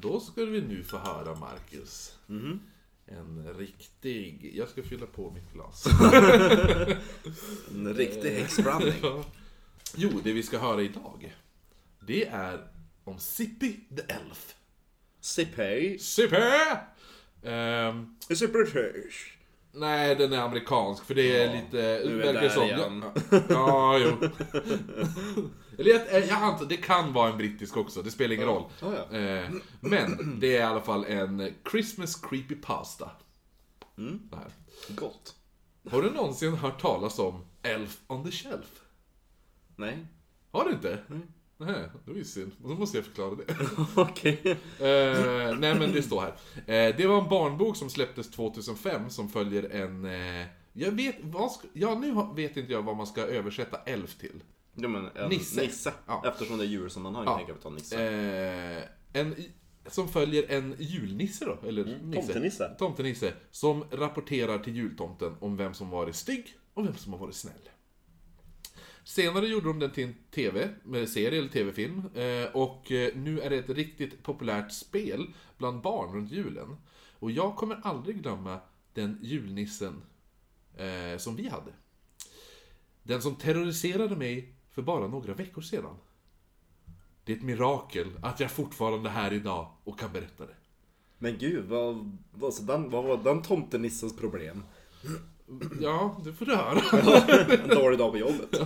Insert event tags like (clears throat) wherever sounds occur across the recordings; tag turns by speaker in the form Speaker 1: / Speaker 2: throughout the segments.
Speaker 1: då skulle vi nu få höra Marcus.
Speaker 2: Mhm.
Speaker 1: En riktig... Jag ska fylla på mitt glas. (laughs)
Speaker 2: En riktig häxblandning.
Speaker 1: (laughs) Ja. jo, det vi ska höra idag, det är om Sippy the Elf.
Speaker 2: Sipej.
Speaker 1: Sippy! Ehm,
Speaker 2: Is it British?
Speaker 1: nej, den är amerikansk, för det är lite...
Speaker 2: nu är vi
Speaker 1: verkar
Speaker 2: där
Speaker 1: som-
Speaker 2: igen.
Speaker 1: Ja, (laughs) ja, jo. Eller jag, jag antar, det kan vara en brittisk också, det spelar ingen roll.
Speaker 2: Ja, ja.
Speaker 1: Eh, men det är i alla fall en Christmas creepy pasta.
Speaker 2: Mm.
Speaker 1: Det här.
Speaker 2: Gott.
Speaker 1: Har du någonsin hört talas om Elf on the Shelf?
Speaker 2: Nej. (laughs)
Speaker 1: Har du inte? Nej, det var ju synd. Och då måste jag förklara det. (laughs)
Speaker 2: Okej.
Speaker 1: Eh, nej men det står här. Eh, det var en barnbok som släpptes 2005 som följer en... Eh, jag vet... Vad ska, ja, nu har- vet inte jag vad man ska översätta elf till.
Speaker 2: Jo men, en
Speaker 1: Nisse.
Speaker 2: Nisse.
Speaker 1: Ja.
Speaker 2: Eftersom det är djur som man har,
Speaker 1: Ja.
Speaker 2: ja. tänker jag ta Nisse.
Speaker 1: Eh, en, som följer en julnisse då, eller nisse.
Speaker 2: Mm, tomtenisse.
Speaker 1: Tomtenisse, som rapporterar till jultomten om vem som varit stygg och vem som har varit snäll. Senare gjorde de den till en TV, med serie eller TV-film eh, och eh, nu är det ett riktigt populärt spel bland barn runt julen. Och jag kommer aldrig glömma den julnissen eh, som vi hade. Den som terroriserade mig för bara några veckor sedan. Det är ett mirakel att jag fortfarande är här idag och kan berätta det.
Speaker 2: Men gud, vad, vad, så den, vad var den
Speaker 1: (laughs)
Speaker 2: tomtenissens problem?
Speaker 1: Ja, det får du höra. (laughs)
Speaker 2: En dålig dag på jobbet.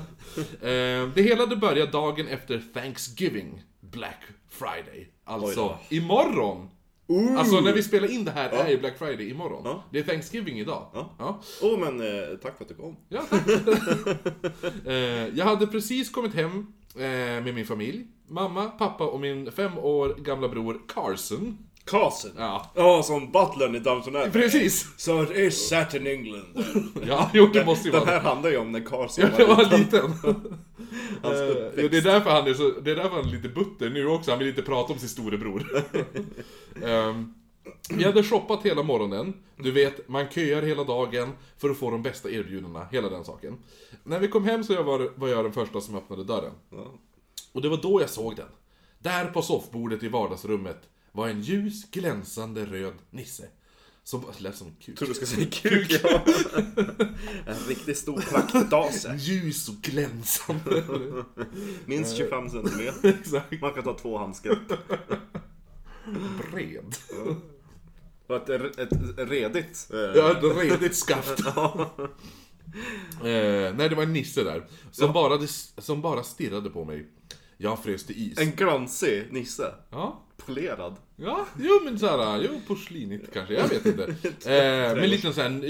Speaker 1: Eh, det hela det börjar dagen efter Thanksgiving, Black Friday. Alltså,
Speaker 2: Oj
Speaker 1: imorgon!
Speaker 2: Ooh.
Speaker 1: Alltså när vi spelar in det här är ju Black Friday imorgon.
Speaker 2: Ja.
Speaker 1: Det är Thanksgiving idag.
Speaker 2: Ja.
Speaker 1: Ja.
Speaker 2: Åh men eh, tack för att du kom.
Speaker 1: Ja, tack. (laughs) eh, jag hade precis kommit hem eh, med min familj. Mamma, pappa och min fem år gamla bror Carson.
Speaker 2: Carson. Ja,
Speaker 1: Ja,
Speaker 2: som butlern i Downton Abbey.
Speaker 1: precis!
Speaker 2: So it is set in England.
Speaker 1: Ja, jo (laughs) det måste ju
Speaker 2: Den
Speaker 1: vara
Speaker 2: här handlar ju om när Carson
Speaker 1: Ja, det var
Speaker 2: liten. (laughs)
Speaker 1: liten.
Speaker 2: Han stod
Speaker 1: Eh, det, är därför han är så, det är därför han är lite butter nu också, han vill inte prata om sin
Speaker 2: (laughs)
Speaker 1: storebror. um, vi hade shoppat hela morgonen, du vet, man köar hela dagen för att få de bästa erbjudandena, hela den saken. När vi kom hem så jag var, var jag den första som öppnade dörren.
Speaker 2: Ja.
Speaker 1: Och det var då jag såg den. Där på soffbordet i vardagsrummet var en ljus, glänsande röd nisse. Som lät som en kuk.
Speaker 2: Tror du ska säga kuk? ja. (laughs) en riktigt stor
Speaker 1: En
Speaker 2: praktdase.
Speaker 1: Ljus och glänsande. (laughs)
Speaker 2: Minst 25 centimeter.
Speaker 1: Exakt.
Speaker 2: Man kan ta två handskar.
Speaker 1: Bred.
Speaker 2: (laughs) Och ett, ett, ett redigt... eh,
Speaker 1: Ja, ett redigt skaft. eh, nej, det var en nisse där. Som, bara, som bara stirrade på mig. Jag frös till is.
Speaker 2: En glansig nisse.
Speaker 1: Ja,
Speaker 2: Polerad.
Speaker 1: ja, jo men såhär, jo porslinigt kanske, jag vet
Speaker 2: (laughs)
Speaker 1: inte. Eh, men lite såhär en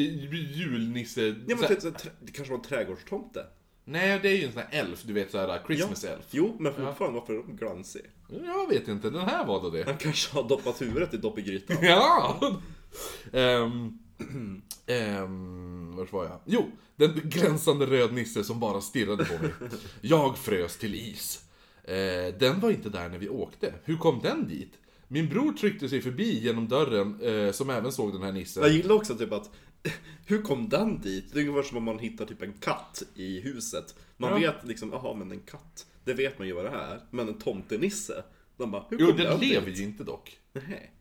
Speaker 1: julnisse.
Speaker 2: Ja, men
Speaker 1: såhär-
Speaker 2: typ, så, trä- det kanske var en trädgårdstomte?
Speaker 1: nej, det är ju en sån här elf, du vet såhär Christmas elf.
Speaker 2: Jo, men fortfarande varför är de glansig?
Speaker 1: Jag vet inte, den här var då det.
Speaker 2: Han kanske har doppat huvudet i doppelgrytan.
Speaker 1: (laughs) Ja! Ehm, (clears throat) ehm, vart var jag? Jo, den glänsande röd nisse som bara stirrade på mig. Jag frös till is. Eh, den var inte där när vi åkte. Hur kom den dit? Min bror tryckte sig förbi genom dörren, eh, som även såg den här
Speaker 2: Jag
Speaker 1: nissen.
Speaker 2: gillar också typ att (laughs) hur kom den dit? Det är ungefär som om man hittar typ en katt i huset. Man
Speaker 1: Ja.
Speaker 2: vet liksom, jaha men en katt, det vet man ju vad det är. Men en tomtenisse, de bara, hur kom
Speaker 1: Jo,
Speaker 2: den
Speaker 1: den lever
Speaker 2: dit?
Speaker 1: ju inte dock.
Speaker 2: Nej.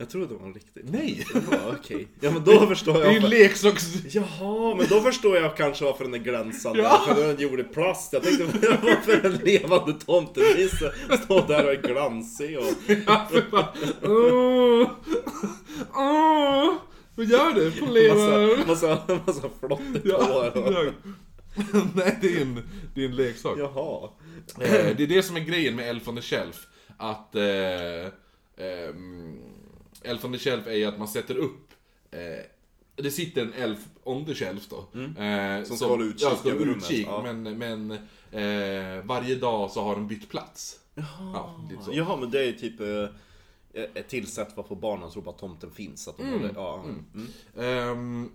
Speaker 2: Jag trodde det var en riktig.
Speaker 1: Nej!
Speaker 2: Jaha, okej. Ja men då förstår
Speaker 1: Det är ju en
Speaker 2: jag.
Speaker 1: leksaks...
Speaker 2: (laughs) Jaha, men då förstår jag kanske varför den är glänsande.
Speaker 1: Ja.
Speaker 2: För den är gjord i plast. Jag tänkte (laughs) varför en levande tomtenisse står där och är
Speaker 1: (laughs)
Speaker 2: glansig och...
Speaker 1: Åh! Åh! Vad gör det? Polerar! (laughs)
Speaker 2: Massa, massa, massa flottigt
Speaker 1: Ja,
Speaker 2: hår. och-
Speaker 1: ja. Nej, det är en, det är en leksak.
Speaker 2: Jaha. (clears throat)
Speaker 1: Eh, det är det som är grejen med Elf on the Shelf. Att... Eh, ehm, Elf on the Shelf är ju att man sätter upp... Eh, det sitter en elf on the shelf då. Eh,
Speaker 2: Mm. Som ska hålla utkik
Speaker 1: ja, ska
Speaker 2: över
Speaker 1: hålla
Speaker 2: rummet,
Speaker 1: utkik
Speaker 2: ja.
Speaker 1: Men, men eh, varje dag så har de bytt plats. Jaha. Ja, lite så.
Speaker 2: Jaha, men det är typ eh, ett tillsätt för att få barnen att tro att tomten finns. så Att de håller- ja, mm.
Speaker 1: Ehm,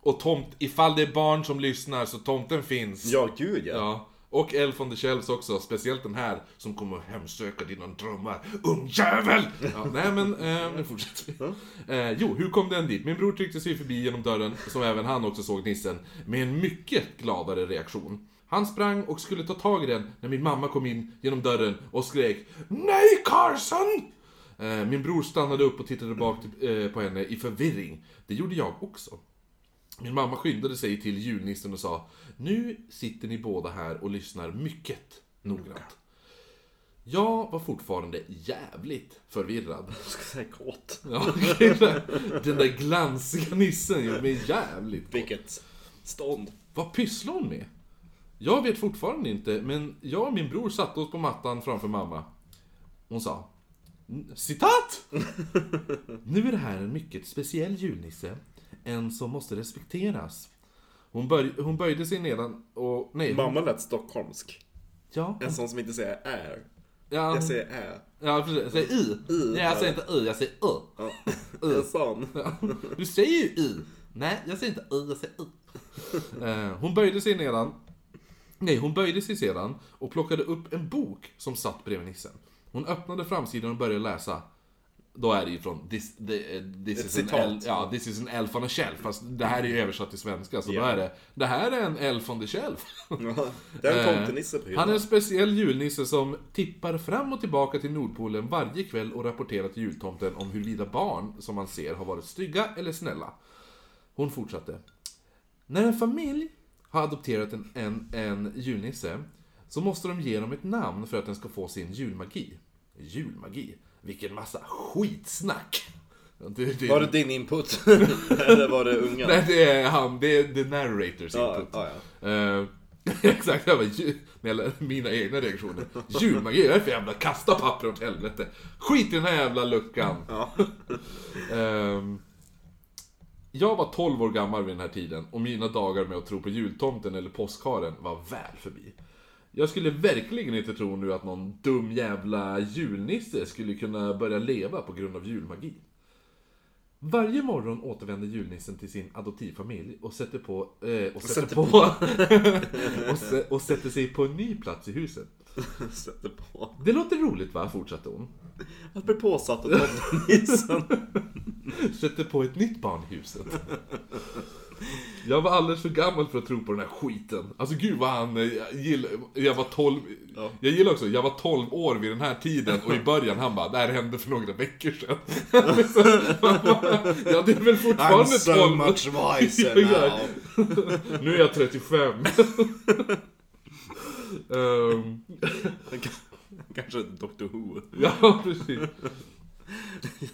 Speaker 1: och tomt, ifall det är barn som lyssnar så tomten finns.
Speaker 2: ja, gud ja.
Speaker 1: Ja, Och Elf on the Shelves också, speciellt den här som kommer att hemsöka dina drömmar. Ungjävel! Ja, nej men, eh, nu fortsätter vi. Eh, jo, hur kom den dit? Min bror tryckte sig förbi genom dörren, som även han också såg nissen, med en mycket gladare reaktion. Han sprang och skulle ta tag i den när min mamma kom in genom dörren och skrek Nej Carson! Eh, Min bror stannade upp och tittade bak till- eh, på henne i förvirring. Det gjorde jag också. Min mamma skyndade sig till julnissen och sa Nu sitter ni båda här och lyssnar mycket noggrant. Jag var fortfarande jävligt förvirrad. (laughs)
Speaker 2: Jag ska säga kåt.
Speaker 1: Ja, den där- den där glansiga nissen gjorde mig jävligt kåt.
Speaker 2: Vilket stånd.
Speaker 1: Vad pysslar hon med? Jag vet fortfarande inte, men jag och min bror satte oss på mattan framför mamma. Hon sa "N- Citat! Nu är det här en mycket speciell julnisse. En som måste respekteras. Hon, böj, hon böjde sig nedan och... Nej. Hon,
Speaker 2: Mamma lät stockholmsk.
Speaker 1: ja.
Speaker 2: En sån som inte säger är.
Speaker 1: Ja,
Speaker 2: Jag säger är.
Speaker 1: ja, precis. Jag säger i.
Speaker 2: I,
Speaker 1: Nej, jag
Speaker 2: ja.
Speaker 1: säger inte i, jag säger i.
Speaker 2: Ja. En sån.
Speaker 1: (laughs) Du säger ju i. Nej, jag säger inte i, jag säger i. Eh, Hon böjde sig nedan. Nej, hon böjde sig sedan och plockade upp en bok som satt bredvid nissen. Hon öppnade framsidan och började läsa. Då är det ju från This, the, eh, this,
Speaker 2: Ett
Speaker 1: is, an
Speaker 2: citat.
Speaker 1: el, ja, this is an elf on a shelf. Fast det här är ju översatt till svenska, så
Speaker 2: Ja.
Speaker 1: då är det Det här är en elf on the shelf.
Speaker 2: Ja. Det är en tomtenisse på
Speaker 1: Eh, Han är
Speaker 2: hyllan.
Speaker 1: en speciell julnisse som tippar fram och tillbaka till Nordpolen varje kväll och rapporterar till jultomten om huruvida barn som man ser har varit stygga eller snälla. Hon fortsatte. När en familj har adopterat en, en, en julnisse så måste de ge dem ett namn för att den ska få sin julmagi. Julmagi? Vilken massa skitsnack! Det, det,
Speaker 2: Var det din (laughs) input? Eller var det unga?
Speaker 1: Nej, det är han. Det är the narrators
Speaker 2: Ja,
Speaker 1: input.
Speaker 2: ja, ja.
Speaker 1: Eh, (laughs) exakt, jag bara, ju- när jag lär- mina egna reaktioner. Julmagi, jag är för jävla kasta papper åt helvete. Skit i den här jävla luckan.
Speaker 2: Ja.
Speaker 1: (laughs) Ehm, jag var 12 år gammal vid den här tiden och mina dagar med att tro på jultomten eller påskharen var väl förbi. Jag skulle verkligen inte tro nu att någon dum jävla julnisse skulle kunna börja leva på grund av julmagi. Varje morgon återvänder julnissen till sin adoptivfamilj och sätter på... Eh, och sätter
Speaker 2: Sätter
Speaker 1: på... (laughs) och, sä- och sätter sig på en ny plats i huset.
Speaker 2: Sätter på.
Speaker 1: Det låter roligt va? Fortsatte hon.
Speaker 2: Att bli påsatt av
Speaker 1: (laughs)
Speaker 2: tomtenissen.
Speaker 1: Sätter på ett nytt barn i huset. Jag var alldeles för gammal för att tro på den här skiten. Alltså gud vad han... eh, Jag, gill, jag var 12...
Speaker 2: Ja.
Speaker 1: Jag gillar också, jag var 12 år vid den här tiden och i början han bara, det här hände för några veckor sedan. (laughs) Så, man bara, ja det är väl
Speaker 2: I'm
Speaker 1: fortfarande
Speaker 2: so
Speaker 1: 12
Speaker 2: much
Speaker 1: (laughs)
Speaker 2: wiser
Speaker 1: Ja,
Speaker 2: now.
Speaker 1: Nu är jag 35. (laughs) Ehm,
Speaker 2: (laughs) Kanske Doctor Who. (laughs)
Speaker 1: ja, precis.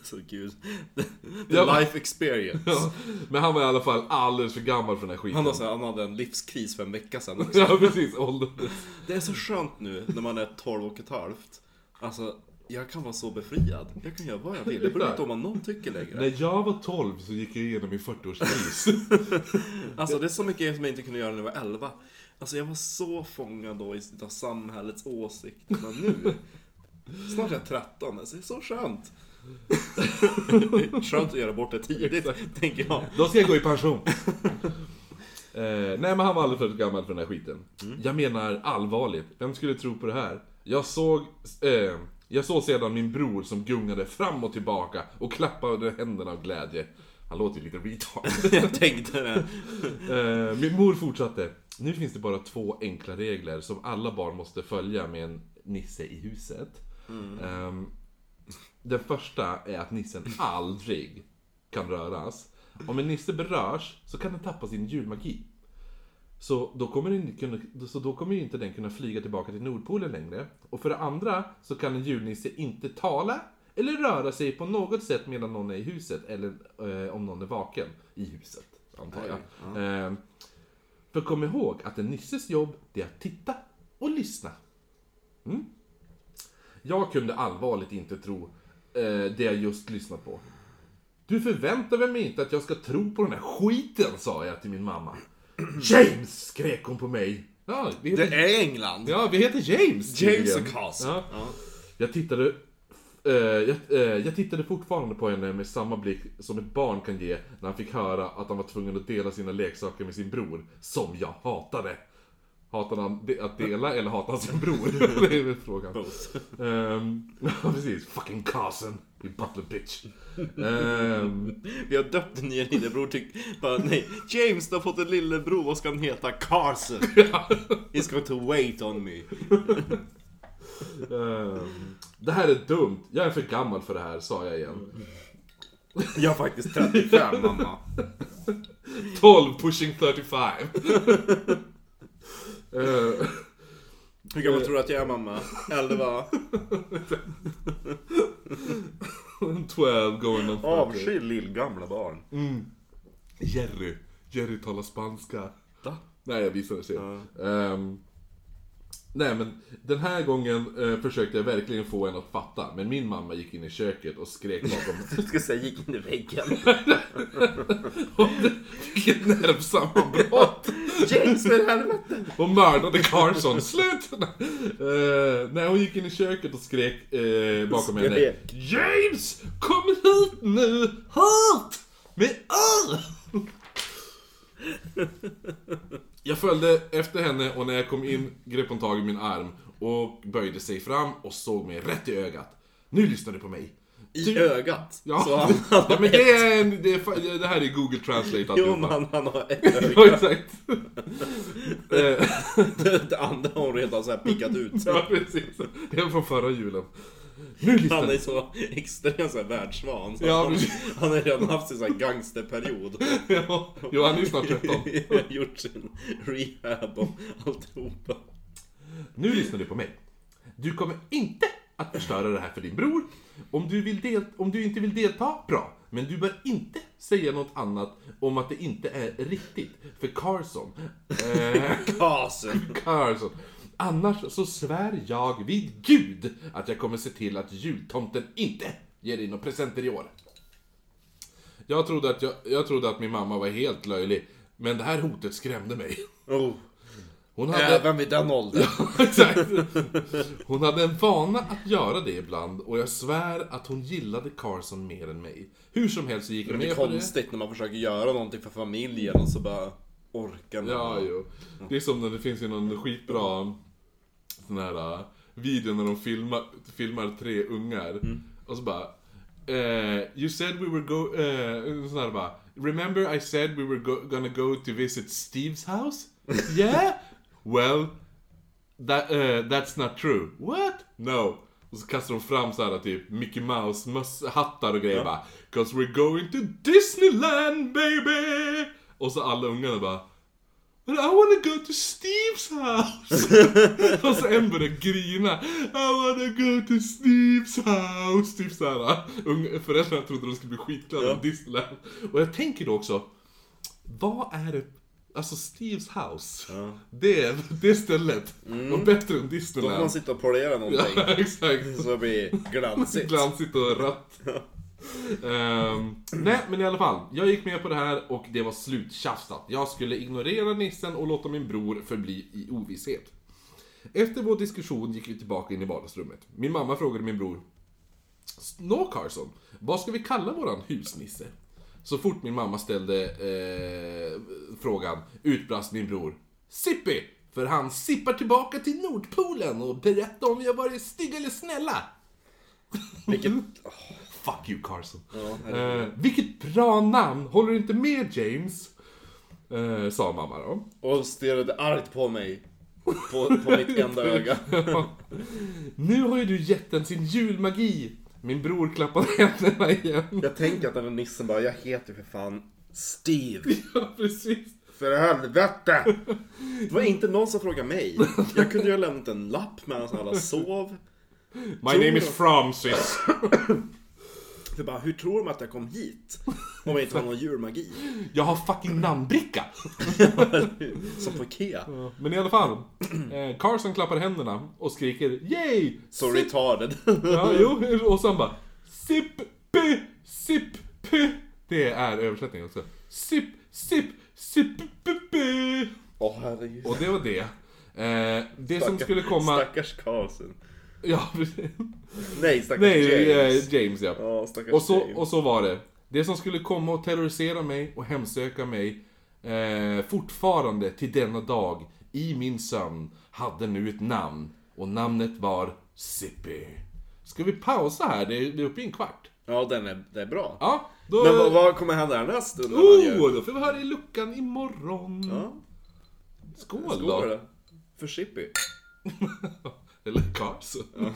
Speaker 2: Så gud.
Speaker 1: Ja,
Speaker 2: The
Speaker 1: men-
Speaker 2: life experience.
Speaker 1: Ja. Men han var i alla fall alldeles för gammal för den här skiten.
Speaker 2: Han, har så här, han hade en livskris för en vecka sedan också.
Speaker 1: Ja, precis. Ålder.
Speaker 2: Det är så skönt nu när man är 12 och ett halvt. Alltså, jag kan vara så befriad. Jag kan göra vad jag vill. Jag bryr mig inte om vad någon tycker längre.
Speaker 1: När jag var 12 så gick jag igenom min 40-årskris.
Speaker 2: Alltså, det är så mycket som jag inte kunde göra när jag var 11. Alltså, jag var så fångad då i av samhällets åsikter. Men nu, snart är jag 13. Alltså, det är så skönt. Skönt att göra bort det tidigt, tänker jag.
Speaker 1: Då ska jag gå i pension. eh, nej men han var alldeles för gammal för den här skiten. Jag menar allvarligt, vem skulle tro på det här? Jag såg, eh, jag såg sedan min bror som gungade fram och tillbaka och klappade händerna av glädje. Han låter ju lite retard.
Speaker 2: Jag tänkte det.
Speaker 1: Eh, min mor fortsatte. Nu finns det bara två enkla regler som alla barn måste följa med en nisse i huset. Ehm, den första är att nissen aldrig kan röras. Om en nisse berörs så kan den tappa sin julmagi. Så då kommer, den inte kunna, så då kommer ju inte den kunna flyga tillbaka till Nordpolen längre. Och för det andra så kan en julnisse inte tala eller röra sig på något sätt medan någon är i huset eller eh, om någon är vaken i huset. Antar jag. Eh, för kom ihåg att en nisses jobb det är att titta och lyssna. Mm. Jag kunde allvarligt inte tro eh, det jag just lyssnat på. Du förväntar väl mig inte att jag ska tro på den här skiten, sa jag till min mamma. (clears throat) James! skrek hon på mig. Ja, vi heter,
Speaker 2: Det är England.
Speaker 1: ja, vi heter James.
Speaker 2: James
Speaker 1: tydligen.
Speaker 2: och Carson.
Speaker 1: Ja.
Speaker 2: Ja.
Speaker 1: Jag tittade, eh, jag, eh, jag tittade fortfarande på henne med samma blick som ett barn kan ge när han fick höra att han var tvungen att dela sina leksaker med sin bror, som jag hatade. Hatar han de- att dela eller hatar han sin (laughs) bror? det är väl frågan.
Speaker 2: Both.
Speaker 1: Ehm, (laughs) ja, precis. Fucking cousin. You butler bitch. Ehm,
Speaker 2: Vi har döpt en ny lillebror till... Bara, nej, James du har fått en lillebror, vad ska han heta? Carson! He's going to wait on me.
Speaker 1: ehm, det här är dumt. Jag är för gammal för det här, sa jag igen.
Speaker 2: Jag är faktiskt 35 mamma.
Speaker 1: 12 pushing 35. Eh,
Speaker 2: Hur gammal tror du att jag är mamma? 11?
Speaker 1: 12 going on 40.
Speaker 2: Avsky lillgamla barn.
Speaker 1: Jerry. Jerry talar spanska.
Speaker 2: Va?
Speaker 1: Nej, jag visar det sen. Ehm, nej, men den här gången eh, försökte jag verkligen få en att fatta. Men min mamma gick in i köket och skrek bakom
Speaker 2: Du (laughs) ska säga gick in i väggen.
Speaker 1: Vilket nervsammanbrott!
Speaker 2: James för helvete!
Speaker 1: Och mördade Carson. Slut! Eh, nej, hon gick in i köket och skrek eh, bakom henne.
Speaker 2: Skrek.
Speaker 1: James! Kom hit nu! Hit! Med öl! Jag följde efter henne och när jag kom in grep hon tag i min arm och böjde sig fram och såg mig rätt i ögat. Nu lyssnar du på mig.
Speaker 2: I ögat.
Speaker 1: Typ. Ja,
Speaker 2: Så han, han
Speaker 1: (laughs) ja
Speaker 2: har
Speaker 1: men
Speaker 2: ett...
Speaker 1: det, är, en- det, är, fa- det här är Google Translate
Speaker 2: Jo
Speaker 1: alltihopa.
Speaker 2: man, han har ett öga.
Speaker 1: (laughs) Ja, exakt. Eh,
Speaker 2: Det, det andra har hon redan så här pickat ut.
Speaker 1: (laughs) ja, precis. Det är från förra julen. Nu lyssnar
Speaker 2: Han är
Speaker 1: ni.
Speaker 2: så extremt så här världsvan. Så
Speaker 1: Ja,
Speaker 2: han,
Speaker 1: precis.
Speaker 2: han har redan haft sin så här gangsterperiod.
Speaker 1: Ja, Jo, han är ju snart
Speaker 2: (laughs)
Speaker 1: 13.
Speaker 2: Gjort sin rehab och alltihopa.
Speaker 1: Nu lyssnar du på mig. Du kommer inte att förstöra det här för din bror. Om du, vill del- om du inte vill delta, bra. Men du bör inte säga något annat om att det inte är riktigt. För Carson... Eh,
Speaker 2: Kasen!
Speaker 1: Carson. Annars så svär jag vid Gud att jag kommer se till att jultomten inte ger in några presenter i år. Jag trodde, att jag, jag trodde att min mamma var helt löjlig, men det här hotet skrämde mig.
Speaker 2: Oh,
Speaker 1: Hon hade,
Speaker 2: även vid den åldern.
Speaker 1: (laughs) exakt, hon hade en vana att göra det ibland och jag svär att hon gillade Carson mer än mig. Hur som helst så gick jag
Speaker 2: Men det är
Speaker 1: med på det.
Speaker 2: konstigt när man försöker göra någonting för familjen och så bara orkar man.
Speaker 1: Ja, jo. Det är som när det finns ju någon skitbra sån här uh, video när de filmar, filmar tre ungar. Och så bara... eh, you said we were go... eh, sån här bara... Remember I said we were go- gonna go to visit Steve's (laughs) house? Yeah? well, that, eh, that's not true. What? No. Och så kastar de fram så här typ Mickey Mouse möss- hattar och grejer bara 'Cause we're going to Disneyland baby' Och så alla ungarna bara But I wanna go to Steve's house! och så en börjar grina. I wanna go to Steve's house! Typ såhär. Unga- Föräldrarna trodde de skulle bli skitglada om Disneyland. Och jag tänker då också, vad är det, alltså Steve's house?
Speaker 2: Ja.
Speaker 1: Det, det stället var bättre än
Speaker 2: Då får
Speaker 1: Disneyland.
Speaker 2: man sitta och polera någonting.
Speaker 1: Ja, (laughs) exakt.
Speaker 2: Så det blir glansigt.
Speaker 1: Glansigt och rött. Ehm, nej, men i alla fall. Jag gick med på det här och det var sluttjafsat. Jag skulle ignorera nissen och låta min bror förbli i ovisshet. Efter vår diskussion gick vi tillbaka in i vardagsrummet. Min mamma frågade min bror Nå Carson, vad ska vi kalla våran husnisse? Så fort min mamma ställde eh, frågan utbrast min bror Sippi! För han sippar tillbaka till Nordpolen och berättar om vi har varit stygga eller snälla.
Speaker 2: Vilket...
Speaker 1: Fuck you Carson.
Speaker 2: Ja, herregud.
Speaker 1: Eh, vilket bra namn! Håller du inte med James? Eh, sa mamma då. (laughs)
Speaker 2: och stirrade argt på mig. På, på mitt enda öga.
Speaker 1: nu har ju du gett den sin julmagi! Min bror klappade händerna
Speaker 2: (laughs)
Speaker 1: igen.
Speaker 2: Jag tänker att den där nissen bara, jag heter för fan Steve.
Speaker 1: ja, precis.
Speaker 2: För helvete! Det var inte någon som frågade mig. Jag kunde ju ha lämnat en lapp medan alla sov.
Speaker 1: My name is From sis.
Speaker 2: För bara, hur tror de att jag kom hit? Om jag inte har någon djurmagi.
Speaker 1: Jag har fucking namnbricka!
Speaker 2: Som på Ikea.
Speaker 1: Men i alla fall. Eh, Carson klappar händerna och skriker Yay!
Speaker 2: So retarded.
Speaker 1: Ja, jo, och sen bara Sipp, p, sipp, p. Det är översättningen också. Sipp, sipp, sipp, p, p.
Speaker 2: Åh herregud.
Speaker 1: Och det var det. Eh, det som skulle komma...
Speaker 2: Stackars Carlsen.
Speaker 1: Ja, precis.
Speaker 2: Nej, stackars
Speaker 1: Nej, James,
Speaker 2: James.
Speaker 1: James ja.
Speaker 2: Ja, stackars
Speaker 1: Och så,
Speaker 2: James.
Speaker 1: och så var det. Det som skulle komma och terrorisera mig och hemsöka mig eh, fortfarande till denna dag i min sömn hade nu ett namn och namnet var Sippy. Ska vi pausa här? Det är, det är uppe i en kvart.
Speaker 2: Ja, den är, den är bra.
Speaker 1: Ja, då...
Speaker 2: Men vad, vad kommer hända härnäst? undrar man ju.
Speaker 1: Oh, då får vi höra i luckan imorgon.
Speaker 2: Ja,
Speaker 1: Skål,
Speaker 2: skål
Speaker 1: då.
Speaker 2: då. För Shippy.
Speaker 1: Eller Karlsson.